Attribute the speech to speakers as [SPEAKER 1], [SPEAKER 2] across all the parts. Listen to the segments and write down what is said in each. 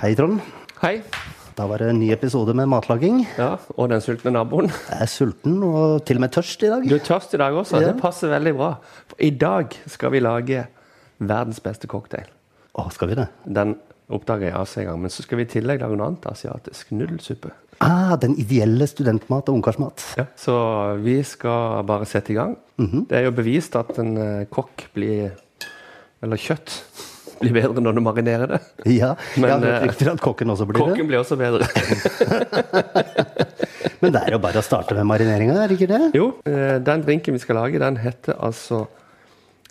[SPEAKER 1] Hei, Trond.
[SPEAKER 2] Hei.
[SPEAKER 1] Da var det en ny episode med matlaging.
[SPEAKER 2] Ja, og den sultne naboen.
[SPEAKER 1] Jeg er sulten og til og med tørst i dag.
[SPEAKER 2] Du er tørst i dag også.
[SPEAKER 1] Ja.
[SPEAKER 2] Det passer veldig bra. For I dag skal vi lage verdens beste cocktail.
[SPEAKER 1] Å, skal vi det?
[SPEAKER 2] Den oppdager jeg Asia en gang. Men så skal vi i tillegg lage noe annet asiatisk. Nudelsuppe.
[SPEAKER 1] Ah, den ideelle studentmat og ungkarsmat.
[SPEAKER 2] Så vi skal bare sette i gang. Det er jo bevist at en eh, kokk blir Eller kjøtt blir bedre når du marinerer det.
[SPEAKER 1] Ja,
[SPEAKER 2] Men,
[SPEAKER 1] jeg har hørt
[SPEAKER 2] eh,
[SPEAKER 1] rykter at kokken også blir
[SPEAKER 2] Kokken blir også bedre.
[SPEAKER 1] det. Men det er jo bare å starte med marineringa, er det ikke det?
[SPEAKER 2] Jo, eh, den drinken vi skal lage, den heter altså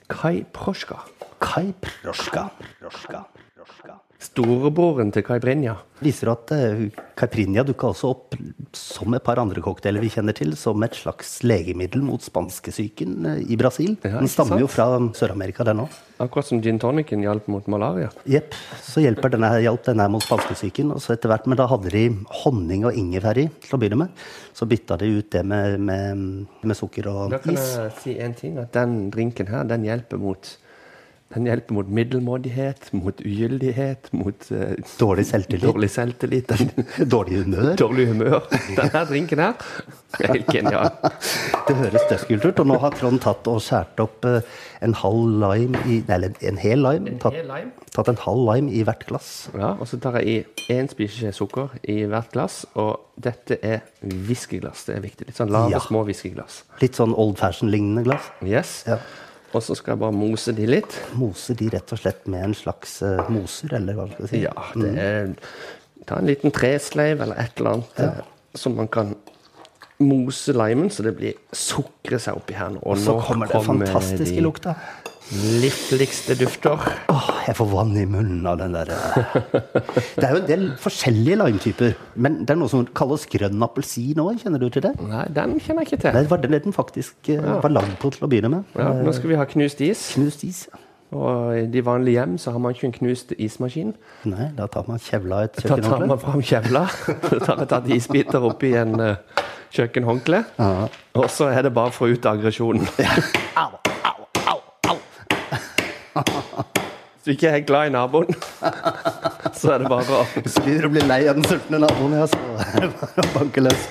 [SPEAKER 2] Kai Proshka.
[SPEAKER 1] Kai Proska. Proska. Proska.
[SPEAKER 2] Storebroren til Kai Brinja.
[SPEAKER 1] Viser du at eh, caipirinha dukka også opp som et par andre cocktailer vi kjenner til, som et slags legemiddel mot spanskesyken eh, i Brasil?
[SPEAKER 2] Ja,
[SPEAKER 1] Den
[SPEAKER 2] ikke sant?
[SPEAKER 1] stammer jo fra Sør-Amerika, den òg.
[SPEAKER 2] Akkurat som gin tonicen hjalp mot malaria.
[SPEAKER 1] Jepp. Så hjelper denne her, hjalp denne her mot spanskesyken. Og så etter hvert, men da hadde de honning og ingefær i til å begynne med. Så bytta de ut det med, med, med sukker og
[SPEAKER 2] Da kan
[SPEAKER 1] is.
[SPEAKER 2] jeg si en ting, at den drinken her, den hjelper mot den hjelper mot middelmådighet, mot ugyldighet, mot eh,
[SPEAKER 1] Dårlig selvtillit.
[SPEAKER 2] dårlig selvtillit, den,
[SPEAKER 1] Dårlig humør.
[SPEAKER 2] dårlig humør. Denne drinken her er helt genial.
[SPEAKER 1] Det høres dødskult ut. Og nå har Trond tatt og skåret opp eh, en halv lime i Nei, eller en hel lime.
[SPEAKER 2] En
[SPEAKER 1] Tatt,
[SPEAKER 2] hel lime?
[SPEAKER 1] tatt en halv lime i hvert glass.
[SPEAKER 2] Ja, og så tar jeg i én spiseskje sukker i hvert glass, og dette er whiskyglass. Det er viktig. Litt sånn lave,
[SPEAKER 1] Ja.
[SPEAKER 2] små whiskyglass.
[SPEAKER 1] Litt sånn old fashion-lignende glass.
[SPEAKER 2] Yes.
[SPEAKER 1] Ja.
[SPEAKER 2] Og så skal jeg bare mose de litt.
[SPEAKER 1] Moser de rett og slett med en slags eh, moser, eller hva skal jeg si. Mm.
[SPEAKER 2] Ja, det er Ta en liten tresleiv eller et eller annet eh, som man kan mose limen, så det blir sukre seg oppi her nå. Og
[SPEAKER 1] Så
[SPEAKER 2] nå
[SPEAKER 1] kommer det fantastiske
[SPEAKER 2] de
[SPEAKER 1] lukta.
[SPEAKER 2] Lykkeligste dufter.
[SPEAKER 1] Åh, jeg får vann i munnen av den der. eh. Det er jo en del forskjellige limetyper. Men det er noe som kalles grønn appelsin òg, kjenner du til det?
[SPEAKER 2] Nei, den kjenner jeg ikke til.
[SPEAKER 1] Nei, det var den den faktisk eh, var lagd på til å begynne med.
[SPEAKER 2] Ja, nå skal vi ha knust is.
[SPEAKER 1] Knust is.
[SPEAKER 2] Og i de vanlige hjem så har man ikke en knust ismaskin.
[SPEAKER 1] Nei, da tar man kjevla i et
[SPEAKER 2] Da tar
[SPEAKER 1] kjøkkenhåndkle.
[SPEAKER 2] man fram kjevla. Så tar jeg tatt isbiter oppi en eh, kjøkkenhåndkle.
[SPEAKER 1] Ja.
[SPEAKER 2] Og så er det bare for å få ut aggresjonen.
[SPEAKER 1] Au, au, au, au.
[SPEAKER 2] Hvis du ikke er glad i naboen, så er det bare å
[SPEAKER 1] Hvis du begynner å bli lei av den sultne naboen, ja, så er det bare å banke løs.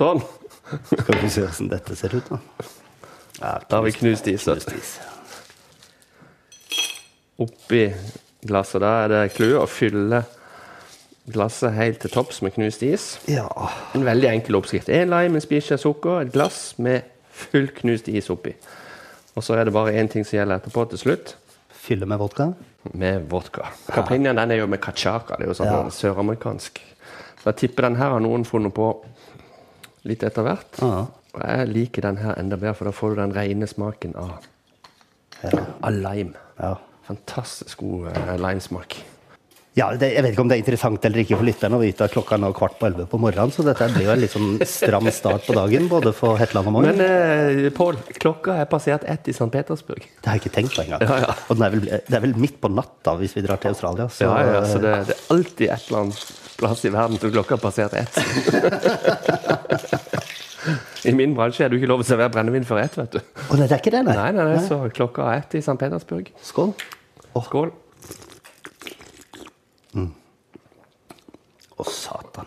[SPEAKER 2] Sånn.
[SPEAKER 1] Skal vi se åssen dette ser ut, da. Ja,
[SPEAKER 2] Da har vi knust is. vet du.
[SPEAKER 1] knust is.
[SPEAKER 2] Oppi glasset. Da er det clouet å fylle glasset helt til topps med knust is.
[SPEAKER 1] Ja.
[SPEAKER 2] En veldig enkel oppskrift. En lime, en spiseskje sukker, et glass med full knust is oppi. Og så er det bare én ting som gjelder etterpå til slutt.
[SPEAKER 1] Fylle med vodka.
[SPEAKER 2] Med vodka. Caipirinhaen den er jo med kachaka. Det er jo sånn
[SPEAKER 1] Ja.
[SPEAKER 2] søramerikansk. Så jeg tipper den her har noen funnet på litt etter hvert.
[SPEAKER 1] Ja.
[SPEAKER 2] Og jeg liker den her enda bedre, for da får du den rene smaken av,
[SPEAKER 1] Ja.
[SPEAKER 2] av lime.
[SPEAKER 1] ja.
[SPEAKER 2] Fantastisk god eh, limesmak.
[SPEAKER 1] Ja, det, Jeg vet ikke om det er interessant eller ikke for lytterne å vite at klokka er nå kvart på elleve på morgenen, så dette blir jo en litt sånn stram start på dagen, både for Hetland og Morgen.
[SPEAKER 2] Men eh, Pål, klokka er passert ett i St. Petersburg.
[SPEAKER 1] Det har jeg ikke tenkt på engang.
[SPEAKER 2] Ja, ja.
[SPEAKER 1] Og den er vel, det er vel midt på natta hvis vi drar til Australia. Så,
[SPEAKER 2] Ja, ja, så det, det er alltid et eller annet plass i verden til klokka har passert ett. I min bransje er det jo ikke lov å servere brennevin før ett, vet du.
[SPEAKER 1] Å, nei, det er ikke det, nei.
[SPEAKER 2] Nei, nei, nei, så klokka er ett i St. Petersburg.
[SPEAKER 1] Skål.
[SPEAKER 2] Skål.
[SPEAKER 1] Å, satan.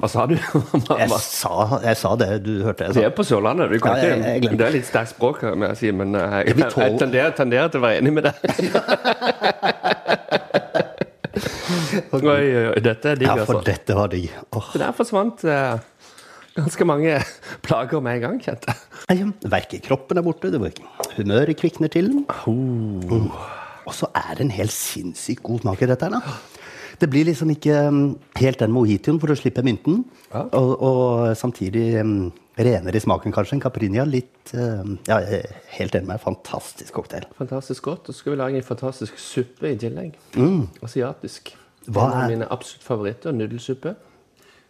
[SPEAKER 2] Hva sa du? Hva-
[SPEAKER 1] Jeg
[SPEAKER 2] hva-
[SPEAKER 1] sa, jeg sa det du hørte. Jeg
[SPEAKER 2] Vi
[SPEAKER 1] sa.
[SPEAKER 2] er på Sørlandet. Du kan
[SPEAKER 1] Ja, jeg- jeg
[SPEAKER 2] ikke,
[SPEAKER 1] glemte.
[SPEAKER 2] det er litt sterkt språk, her, må jeg si, men eh, jeg,
[SPEAKER 1] vi
[SPEAKER 2] jeg,
[SPEAKER 1] tåler-
[SPEAKER 2] tenderer, tenderer til å være enig med deg. Oi, oi, oi, dette er digg,
[SPEAKER 1] Ja,
[SPEAKER 2] altså.
[SPEAKER 1] for dette var digg. Åh.
[SPEAKER 2] Så Der forsvant eh, ganske mange plager med en gang, kjente jeg.
[SPEAKER 1] Nei, Verket i kroppen er borte, det var ikke humøret kvikner til.
[SPEAKER 2] Oh.
[SPEAKER 1] Mm. Og så er det en helt sinnssykt god smak i dette her, da. Det blir liksom ikke mm, helt den mojitoen, for du slipper mynten.
[SPEAKER 2] Ja.
[SPEAKER 1] Og, og samtidig mm, renere i smaken, kanskje, en caipirinha. Litt eh, Ja, jeg er helt enig med deg. Fantastisk cocktail.
[SPEAKER 2] Fantastisk godt. Og så skal vi lage en fantastisk suppe i tillegg. Asiatisk.
[SPEAKER 1] Mm. Hva
[SPEAKER 2] en av
[SPEAKER 1] er-
[SPEAKER 2] mine absolutt favoritter. Nudelsuppe.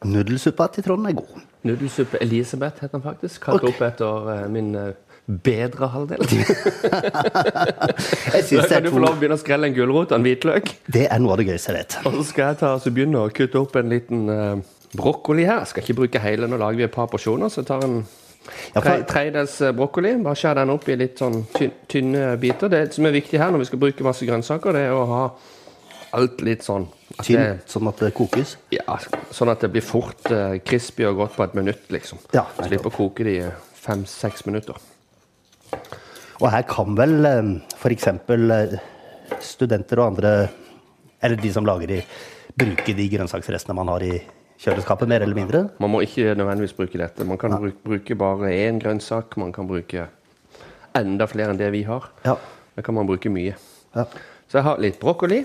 [SPEAKER 1] Nudelsuppa til Trond er god.
[SPEAKER 2] Nudelsuppe Elisabeth heter den faktisk. Kalt
[SPEAKER 1] Ok.
[SPEAKER 2] opp etter eh, min eh, bedre halvdel.
[SPEAKER 1] Jeg
[SPEAKER 2] Da
[SPEAKER 1] synes det,
[SPEAKER 2] kan
[SPEAKER 1] er
[SPEAKER 2] du få lov
[SPEAKER 1] to,
[SPEAKER 2] å begynne å skrelle en gulrot og en hvitløk.
[SPEAKER 1] det er noe av det gøyeste jeg vet.
[SPEAKER 2] Og så skal jeg ta, så begynne å kutte opp en liten eh, brokkoli her. Jeg skal ikke bruke hele, nå lager vi et par porsjoner. Så jeg tar en
[SPEAKER 1] Ja,
[SPEAKER 2] tre,
[SPEAKER 1] for-
[SPEAKER 2] tredels eh, brokkoli. Bare skjær den opp i litt sånn tynne, tynne biter. Det som er viktig her når vi skal bruke masse grønnsaker, det er å ha alt litt sånn
[SPEAKER 1] Tynn,
[SPEAKER 2] det-
[SPEAKER 1] sånn at det kokes.
[SPEAKER 2] Ja, sånn at det blir fort eh, crispy og godt på et minutt, liksom.
[SPEAKER 1] Ja,
[SPEAKER 2] Slipper å koke det i fem-seks minutter.
[SPEAKER 1] Og her kan vel eh, f.eks. eh, studenter og andre, eller de som lager de, bruke de grønnsaksrestene man har i kjøleskapet, mer eller mindre.
[SPEAKER 2] Man må ikke nødvendigvis bruke dette. Man kan bruke, bruke bare én grønnsak. Man kan bruke enda flere enn det vi har.
[SPEAKER 1] Ja.
[SPEAKER 2] Da kan man bruke mye.
[SPEAKER 1] Ja.
[SPEAKER 2] Så jeg har litt brokkoli,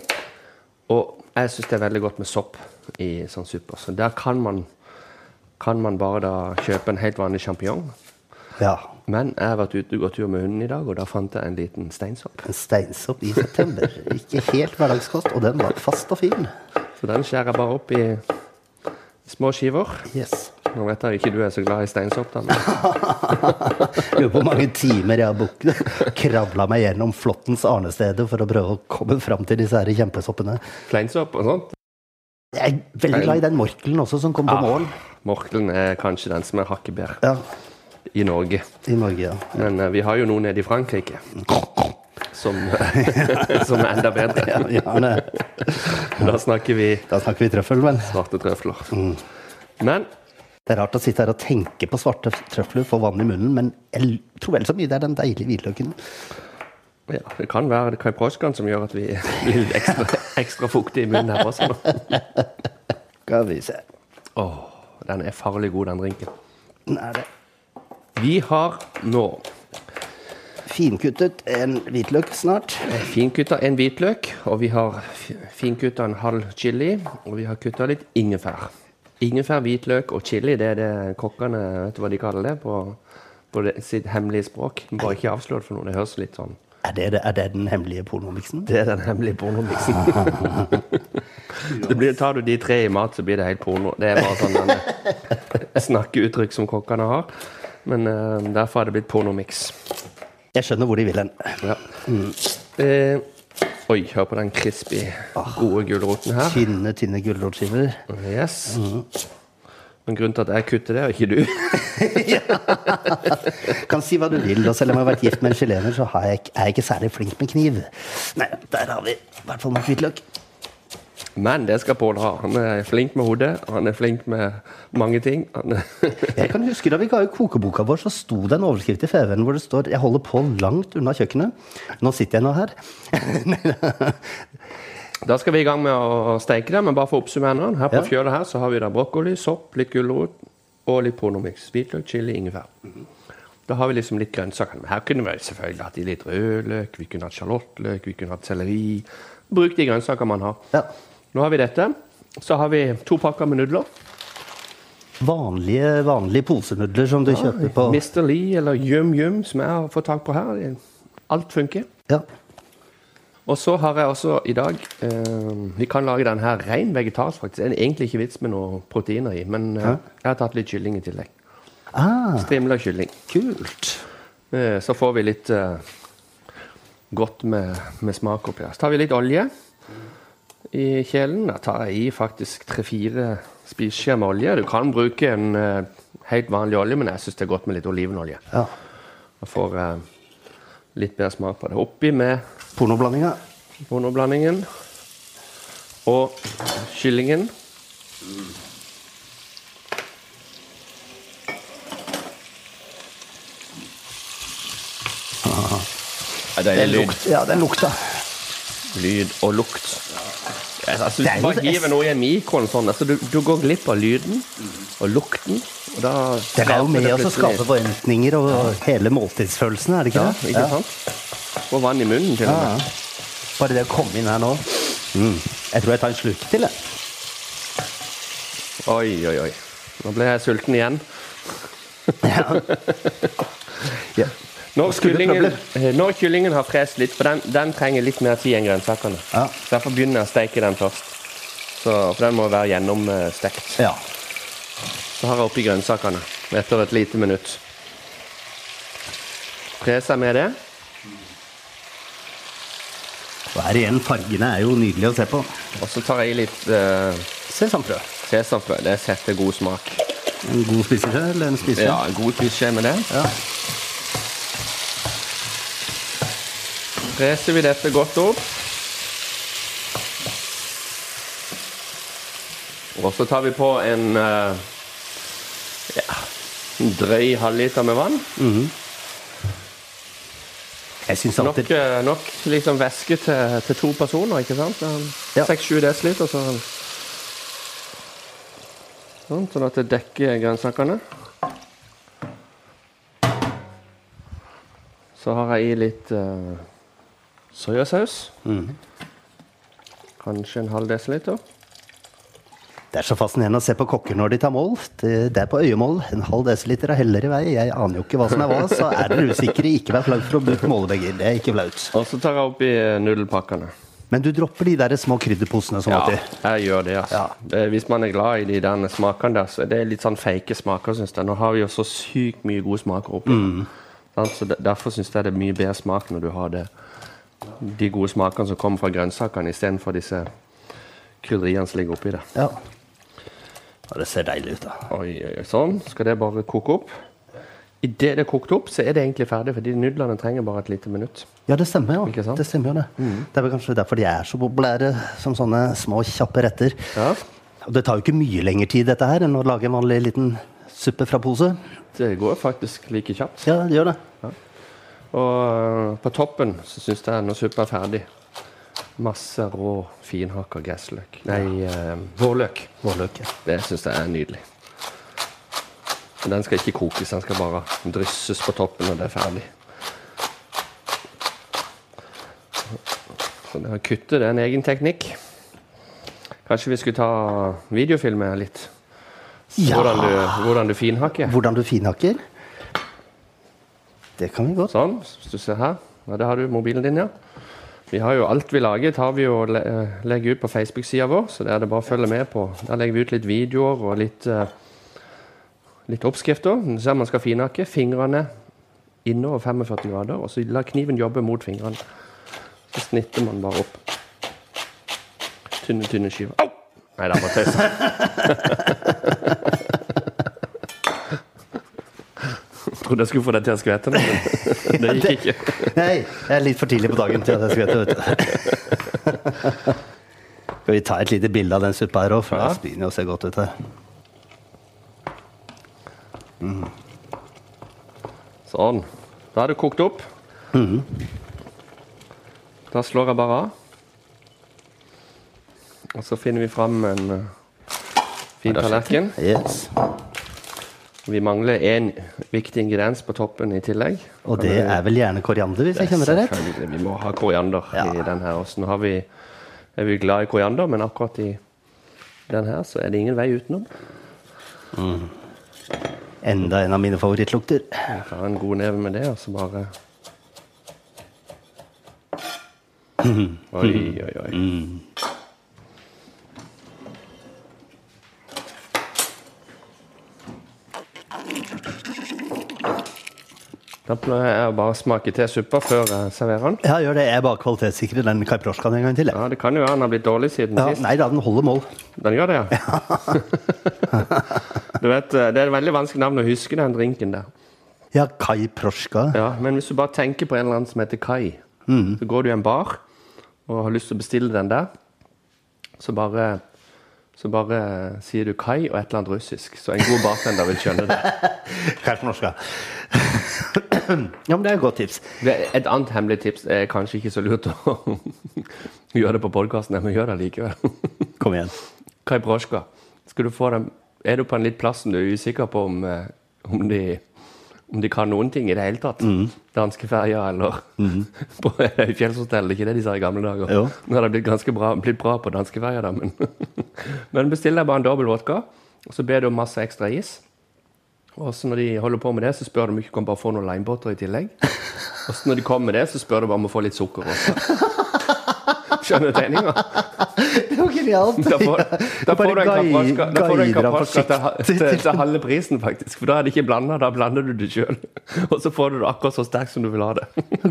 [SPEAKER 2] og jeg syns det er veldig godt med sopp i sånn supper. Så der kan man, kan man bare da kjøpe en helt vanlig sjampinjong.
[SPEAKER 1] ja.
[SPEAKER 2] Men jeg har vært ute og gått tur med hunden i dag, og da fant jeg en liten steinsopp.
[SPEAKER 1] En steinsopp i september. Ikke helt hverdagskost, og den var fast og fin.
[SPEAKER 2] Så den skjærer jeg bare opp i små skiver.
[SPEAKER 1] Yes.
[SPEAKER 2] Nå vet jeg ikke du er så glad i steinsopp, da. Men
[SPEAKER 1] Lurer på hvor mange timer jeg har buk- kravla meg gjennom Flåttens arnesteder for å prøve å komme fram til disse her kjempesoppene.
[SPEAKER 2] kleinsopp og sånt.
[SPEAKER 1] Jeg er veldig glad i den morkelen også, som kom på mål.
[SPEAKER 2] Morkelen er kanskje den som er hakket bedre
[SPEAKER 1] Ja,
[SPEAKER 2] i Norge.
[SPEAKER 1] I Norge, ja.
[SPEAKER 2] Men eh, vi har jo noe nede i Frankrike som, som er enda bedre.
[SPEAKER 1] ja gjerne.
[SPEAKER 2] Da snakker vi
[SPEAKER 1] Da snakker vi trøffel, men
[SPEAKER 2] svarte trøfler. Men
[SPEAKER 1] det er rart å sitte her og tenke på svarte trøfler, få vann i munnen, men jeg l- tror vel så mye det er den deilige hvitløken.
[SPEAKER 2] ja, det kan være kaiproskan som gjør at vi blir litt ekstra, ekstra fuktige i munnen her også. nå.
[SPEAKER 1] Skal vi se.
[SPEAKER 2] Åh, den er farlig god, den drinken.
[SPEAKER 1] Den er det
[SPEAKER 2] Vi har nå
[SPEAKER 1] finkuttet en hvitløk snart.
[SPEAKER 2] finkutta en hvitløk, og vi har fi- finkutta en halv chili, og vi har kutta litt ingefær. Ingefær, hvitløk og chili, det er det kokkene vet du hva de kaller det på, på det, sitt hemmelige språk. Bare ikke avslør det for noen. Det høres litt sånn
[SPEAKER 1] Er det, er det den hemmelige pornomiksen?
[SPEAKER 2] Det er den hemmelige pornomiksen. Det blir, tar du de tre i mat, så blir det helt porno. Det er bare sånn en snakkeuttrykk som kokkene har. Men eh, derfor er det blitt pornomiks.
[SPEAKER 1] Jeg skjønner hvor de vil hen.
[SPEAKER 2] Ja. Eh, oi, hør på den crispy, gode gulroten her.
[SPEAKER 1] Tynne, tynne gulrotskiver.
[SPEAKER 2] Yes. Men grunnen til at jeg kutter det, og ikke du
[SPEAKER 1] Kan si hva du vil, og selv om jeg har vært gift med en chilener, så har jeg, ikke- er jeg ikke særlig flink med kniv. Nei, der har vi i hvert fall nok hvitløk.
[SPEAKER 2] Men det skal Pål ha. Han er flink med hodet, og han er flink med mange ting. Han er
[SPEAKER 1] Jeg kan huske Da vi ga ut kokeboka vår, så sto det en overskrift i FVN hvor det står 'Jeg holder på langt unna kjøkkenet'. Nå sitter jeg nå her.
[SPEAKER 2] Da skal vi i gang med å steike det, men bare for å oppsummere nå. Her
[SPEAKER 1] Ja.
[SPEAKER 2] på fjøla her så har vi da brokkoli, sopp, litt gulrot og litt pornomix. Hvitløk, chili, ingefær. Da har vi liksom litt grønnsaker. Men her kunne vi selvfølgelig hatt i litt rødløk, vi kunne hatt sjalottløk, vi kunne hatt selleri. Bruk de grønnsaker man har.
[SPEAKER 1] Ja.
[SPEAKER 2] Nå har vi dette. Så har vi to pakker med nudler.
[SPEAKER 1] Vanlige, vanlige posenudler som du kjøper på
[SPEAKER 2] Mr. Lee eller Yum Yum, som jeg har fått tak på her. Alt funker.
[SPEAKER 1] ja.
[SPEAKER 2] Og så har jeg også i dag eh, Vi kan lage den her ren vegetarisk, faktisk. Det er egentlig ikke vits med noe proteiner i, men eh, jeg har tatt litt kylling i tillegg.
[SPEAKER 1] ah,
[SPEAKER 2] Strimla kylling.
[SPEAKER 1] Kult.
[SPEAKER 2] Eh, så får vi litt eh, godt med, med smak oppi her. Så tar vi litt olje i kjelen. Da tar jeg i faktisk tre-fire spiseskjeer med olje. Du kan bruke en eh, helt vanlig olje, men jeg syns det er godt med litt olivenolje.
[SPEAKER 1] Ja.
[SPEAKER 2] Da får jeg litt bedre smak på det. Oppi med
[SPEAKER 1] Pornoblandinga.
[SPEAKER 2] Bonoblandingen og kyllingen. Det er deilig lyd.
[SPEAKER 1] Ja, den lukta.
[SPEAKER 2] lyd og lukt. Altså,
[SPEAKER 1] Det er jo
[SPEAKER 2] hvis du bare
[SPEAKER 1] så-
[SPEAKER 2] hiver noe i en mikroen sånn, altså, du, du går glipp av lyden og lukten. Og da
[SPEAKER 1] Den er jo med oss å
[SPEAKER 2] plutselig-
[SPEAKER 1] skape forventninger og hele måltidsfølelsen, er det ikke
[SPEAKER 2] Ja,
[SPEAKER 1] det?
[SPEAKER 2] ikke sant? Får vann i munnen til og med.
[SPEAKER 1] Bare det å komme inn her nå. Mm. Jeg tror jeg tar en slurk til, jeg.
[SPEAKER 2] Oi, oi, oi. Nå ble jeg sulten igjen.
[SPEAKER 1] Ja.
[SPEAKER 2] Når
[SPEAKER 1] skulle
[SPEAKER 2] kyllingen,
[SPEAKER 1] knøbler.
[SPEAKER 2] eh, når kyllingen har frest litt, for den, den trenger litt mer tid enn grønnsakene.
[SPEAKER 1] Ja.
[SPEAKER 2] Derfor begynner jeg å steike den først. Så, for den må være gjennomstekt.
[SPEAKER 1] ja.
[SPEAKER 2] Så har jeg oppi grønnsakene etter et lite minutt. Spre seg med det.
[SPEAKER 1] Og her igjen, fargene er jo nydelige å se på. sånn,
[SPEAKER 2] Og så tar jeg i litt eh,
[SPEAKER 1] Sesamfrø.
[SPEAKER 2] sesamfrø. Det setter god smak.
[SPEAKER 1] En god spiseskje eller en spiseskje?
[SPEAKER 2] Ja, en god klisjé med det.
[SPEAKER 1] Ja.
[SPEAKER 2] Freser vi dette godt opp. Og så tar vi på en eh, ja, en drøy halvliter med vann.
[SPEAKER 1] Jeg syns
[SPEAKER 2] Nok,
[SPEAKER 1] alltid
[SPEAKER 2] eh, nok liksom væske til, til to personer, ikke sant?
[SPEAKER 1] Ja.
[SPEAKER 2] 6-7 dl, så um, Sånn, sånn at det dekker grønnsakene. Så har jeg i litt eh, soyasaus. Kanskje en halv desiliter.
[SPEAKER 1] Det er så fascinerende å se på kokker når de tar mål. Det det er på øyemål. En halv desiliter er heller i vei. Jeg aner jo ikke hva som er hva, så er dere usikre. Ikke vær flau for å bruke målebeger. Det er ikke flaut.
[SPEAKER 2] Og så tar jeg oppi nudelpakkene.
[SPEAKER 1] Men du dropper de der små krydderposene som
[SPEAKER 2] Ja,
[SPEAKER 1] alltid.
[SPEAKER 2] jeg gjør det, altså.
[SPEAKER 1] Ja.
[SPEAKER 2] Det, hvis man er glad i de der smakene der, så er det litt sånn fake smaker, syns jeg. Nå har vi jo så sykt mye gode smaker oppi. Sant? Så de- derfor syns jeg det er mye bedre smak når du har det. De gode smakene som kommer fra grønnsakene, istedenfor disse krydderiene som ligger oppi det.
[SPEAKER 1] Ja. Og det ser deilig ut, da.
[SPEAKER 2] Oi, oi, oi, sånn. Skal det bare koke opp? Idet det er kokt opp, så er det egentlig ferdig, fordi nudlene trenger bare et lite minutt.
[SPEAKER 1] Ja, det stemmer jo.
[SPEAKER 2] Ikke sant? Mm.
[SPEAKER 1] Det stemmer jo det. Det er vel kanskje derfor de er så populære som sånne små, kjappe retter.
[SPEAKER 2] Ja.
[SPEAKER 1] Og det tar jo ikke mye lengre tid dette her enn å lage en vanlig liten suppe fra pose.
[SPEAKER 2] Det går faktisk like kjapt.
[SPEAKER 1] Ja, det gjør det.
[SPEAKER 2] Og eh, på toppen så syns jeg når suppa er ferdig Masse rå, finhakka gressløk. Nei, eh, vårløk.
[SPEAKER 1] Vårløk. ja.
[SPEAKER 2] Det syns jeg er nydelig. Men Den skal ikke kokes, den skal bare drysses på toppen når det er ferdig. Så det å kutte det er en egen teknikk. Kanskje vi skulle ta videofilme litt?
[SPEAKER 1] Ja.
[SPEAKER 2] Hvordan du, hvordan du finhakker?
[SPEAKER 1] Hvordan du finhakker? Det kan vi godt.
[SPEAKER 2] Sånn, hvis du ser her. Ja, der har du mobilen din, ja. Vi har jo alt vi lager, tar vi og le- eh, legger ut på Facebook-sida vår, så der er det bare å følge med på. Der legger vi ut litt videoer og litt, eh, litt oppskrifter. Du ser man skal finhakke. Fingrene innover 45 grader, og så la kniven jobbe mot fingrene. Så snitter man bare opp. Tynne, tynne skiver. Au! Nei, det er bare tøys. Trodde jeg skulle få deg til å skvette, men det gikk ikke.
[SPEAKER 1] Nei, jeg er litt for tidlig på dagen til at jeg skal vite det. Skal vi ta et lite bilde av den suppa her òg, for
[SPEAKER 2] Ja.
[SPEAKER 1] det begynner jo å se godt ut her.
[SPEAKER 2] Sånn. Da er det kokt opp. Da slår jeg bare av. Og så finner vi fram en eh, fin tallerken.
[SPEAKER 1] Yes.
[SPEAKER 2] Vi mangler én viktig ingrediens på toppen i tillegg.
[SPEAKER 1] Og det er vel gjerne koriander, hvis jeg kjenner det rett?
[SPEAKER 2] Selvfølgelig, Vi må ha koriander
[SPEAKER 1] Ja.
[SPEAKER 2] i den her. Også. Nå har vi, er vi glad i koriander, men akkurat i den her så er det ingen vei utenom.
[SPEAKER 1] Enda en av mine favorittlukter.
[SPEAKER 2] Ta en god neve med det, og så bare Oi, oi, oi. Da pleier jeg å bare smake til suppa før jeg serverer den.
[SPEAKER 1] Ja, gjør det. Jeg bare kvalitetssikrer den kaiprosjkaen en gang til. jeg.
[SPEAKER 2] Ja, Det kan jo være den har blitt dårlig siden
[SPEAKER 1] Ja,
[SPEAKER 2] sist.
[SPEAKER 1] nei da, den holder mål.
[SPEAKER 2] Den gjør det, ja? du vet, eh, Det er et veldig vanskelig navn å huske, den drinken der.
[SPEAKER 1] Ja, kaiprosjka.
[SPEAKER 2] Ja, Men hvis du bare tenker på en eller annen som heter Kai, så går du i en bar og har lyst til å bestille den der, så bare, så bare sier du Kai og et eller annet russisk. Så en god bartender vil skjønne det.
[SPEAKER 1] Kaiprosjka. Ja, men det er et godt tips.
[SPEAKER 2] det et annet hemmelig tips er kanskje ikke så lurt å gjøre det på podkasten, men gjør det likevel.
[SPEAKER 1] Kom igjen.
[SPEAKER 2] Kai Broschka, skal du få dem Er du på en litt plass som du er usikker på om, eh, om de om de kan noen ting i det hele tatt? Danskeferja eller på Høyfjellshotell, ikke det de sa i gamle dager?
[SPEAKER 1] Jo.
[SPEAKER 2] Nå har det blitt ganske bra, blitt bra på danskeferja, da, men Men bestill deg bare en dobbel vodka, og så ber du om masse ekstra is. Og så når de holder på med det, så spør de om ikke kan bare få noen limebutter i tillegg. Og så når de kommer med det, så spør de bare om å få litt sukker også. Skjønner du tegninga?
[SPEAKER 1] Det var genialt.
[SPEAKER 2] Da får, da får du en kapraska, da får du en kapraska til, ha-
[SPEAKER 1] forsiktig
[SPEAKER 2] til, til halve prisen, faktisk. For da er det ikke blanda, da blander du det sjøl. Og så får du det akkurat så sterkt som du vil ha det.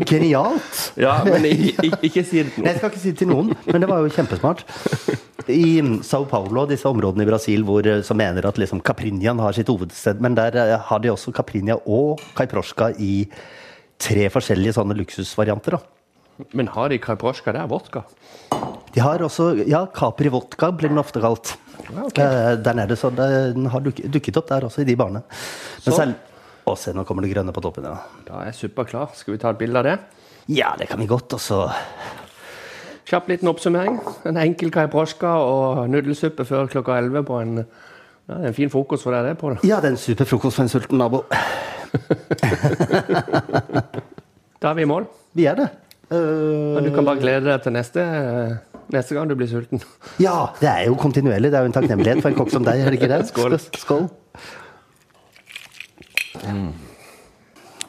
[SPEAKER 1] Genialt!
[SPEAKER 2] Ja, men i- i- ikke si det til
[SPEAKER 1] Nei,
[SPEAKER 2] noen.
[SPEAKER 1] Jeg skal ikke si det til noen, men det var jo kjempesmart. I Sao Paulo og disse områdene i Brasil hvor, eh, som mener at liksom Caprinian har sitt hovedsted, men der eh, har de også Caprinia og Kaiprosjka i tre forskjellige sånne luksusvarianter. da.
[SPEAKER 2] Men har de kapraska der, vodka?
[SPEAKER 1] De har også ja, Capri Vodka blir den ofte kalt.
[SPEAKER 2] Ja, Ah, ok.
[SPEAKER 1] Eh, der nede, så det- den har duk, dukket opp der også, i de barene. Men
[SPEAKER 2] Så.
[SPEAKER 1] selv Å, se, nå kommer det grønne på toppen. Ja,
[SPEAKER 2] Da er suppa klar. Skal vi ta et bilde av det?
[SPEAKER 1] ja det kan vi godt. Og så
[SPEAKER 2] Kjapp liten oppsummering. En enkel kaiproska og nudelsuppe før klokka 11 på en, ja, en fin frokost for deg, det, Pål.
[SPEAKER 1] Ja, det er en super frokost for en sulten nabo.
[SPEAKER 2] Da er vi i mål.
[SPEAKER 1] Vi er det.
[SPEAKER 2] Men
[SPEAKER 1] Eh,
[SPEAKER 2] Du kan bare glede deg til neste, neste gang du blir sulten.
[SPEAKER 1] ja, det er jo kontinuerlig. Det er jo en takknemlighet for en kokk som deg. er det ikke det?
[SPEAKER 2] Skål.
[SPEAKER 1] Skål. Mm.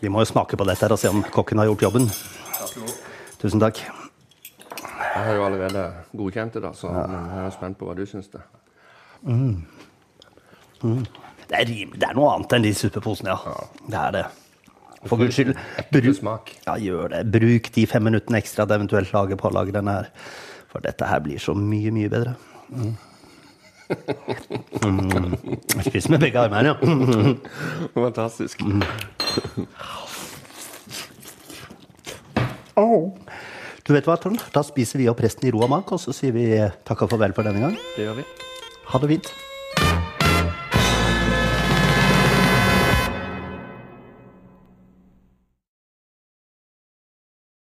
[SPEAKER 1] Vi må jo smake på dette her og se om kokken har gjort jobben. Tusen takk.
[SPEAKER 2] Jeg har jo allerede godkjent det, da, så jeg er spent på hva du syns. det.
[SPEAKER 1] Det er, rim, det er noe annet enn de suppeposene, ja. Det er det. For guds skyld.
[SPEAKER 2] Du
[SPEAKER 1] Bruk,
[SPEAKER 2] smak.
[SPEAKER 1] ja, gjør det. Bruk de fem minuttene ekstra det eventuelt lager pålaget denne her. For dette her blir så mye, mye bedre. Mm. Mm. Spis med begge armene, ja.
[SPEAKER 2] Fantastisk.
[SPEAKER 1] Du vet hva, Trond? Da spiser vi opp resten i ro og mak, og så sier vi takk og farvel for denne gang.
[SPEAKER 2] Det gjør vi.
[SPEAKER 1] Ha det fint.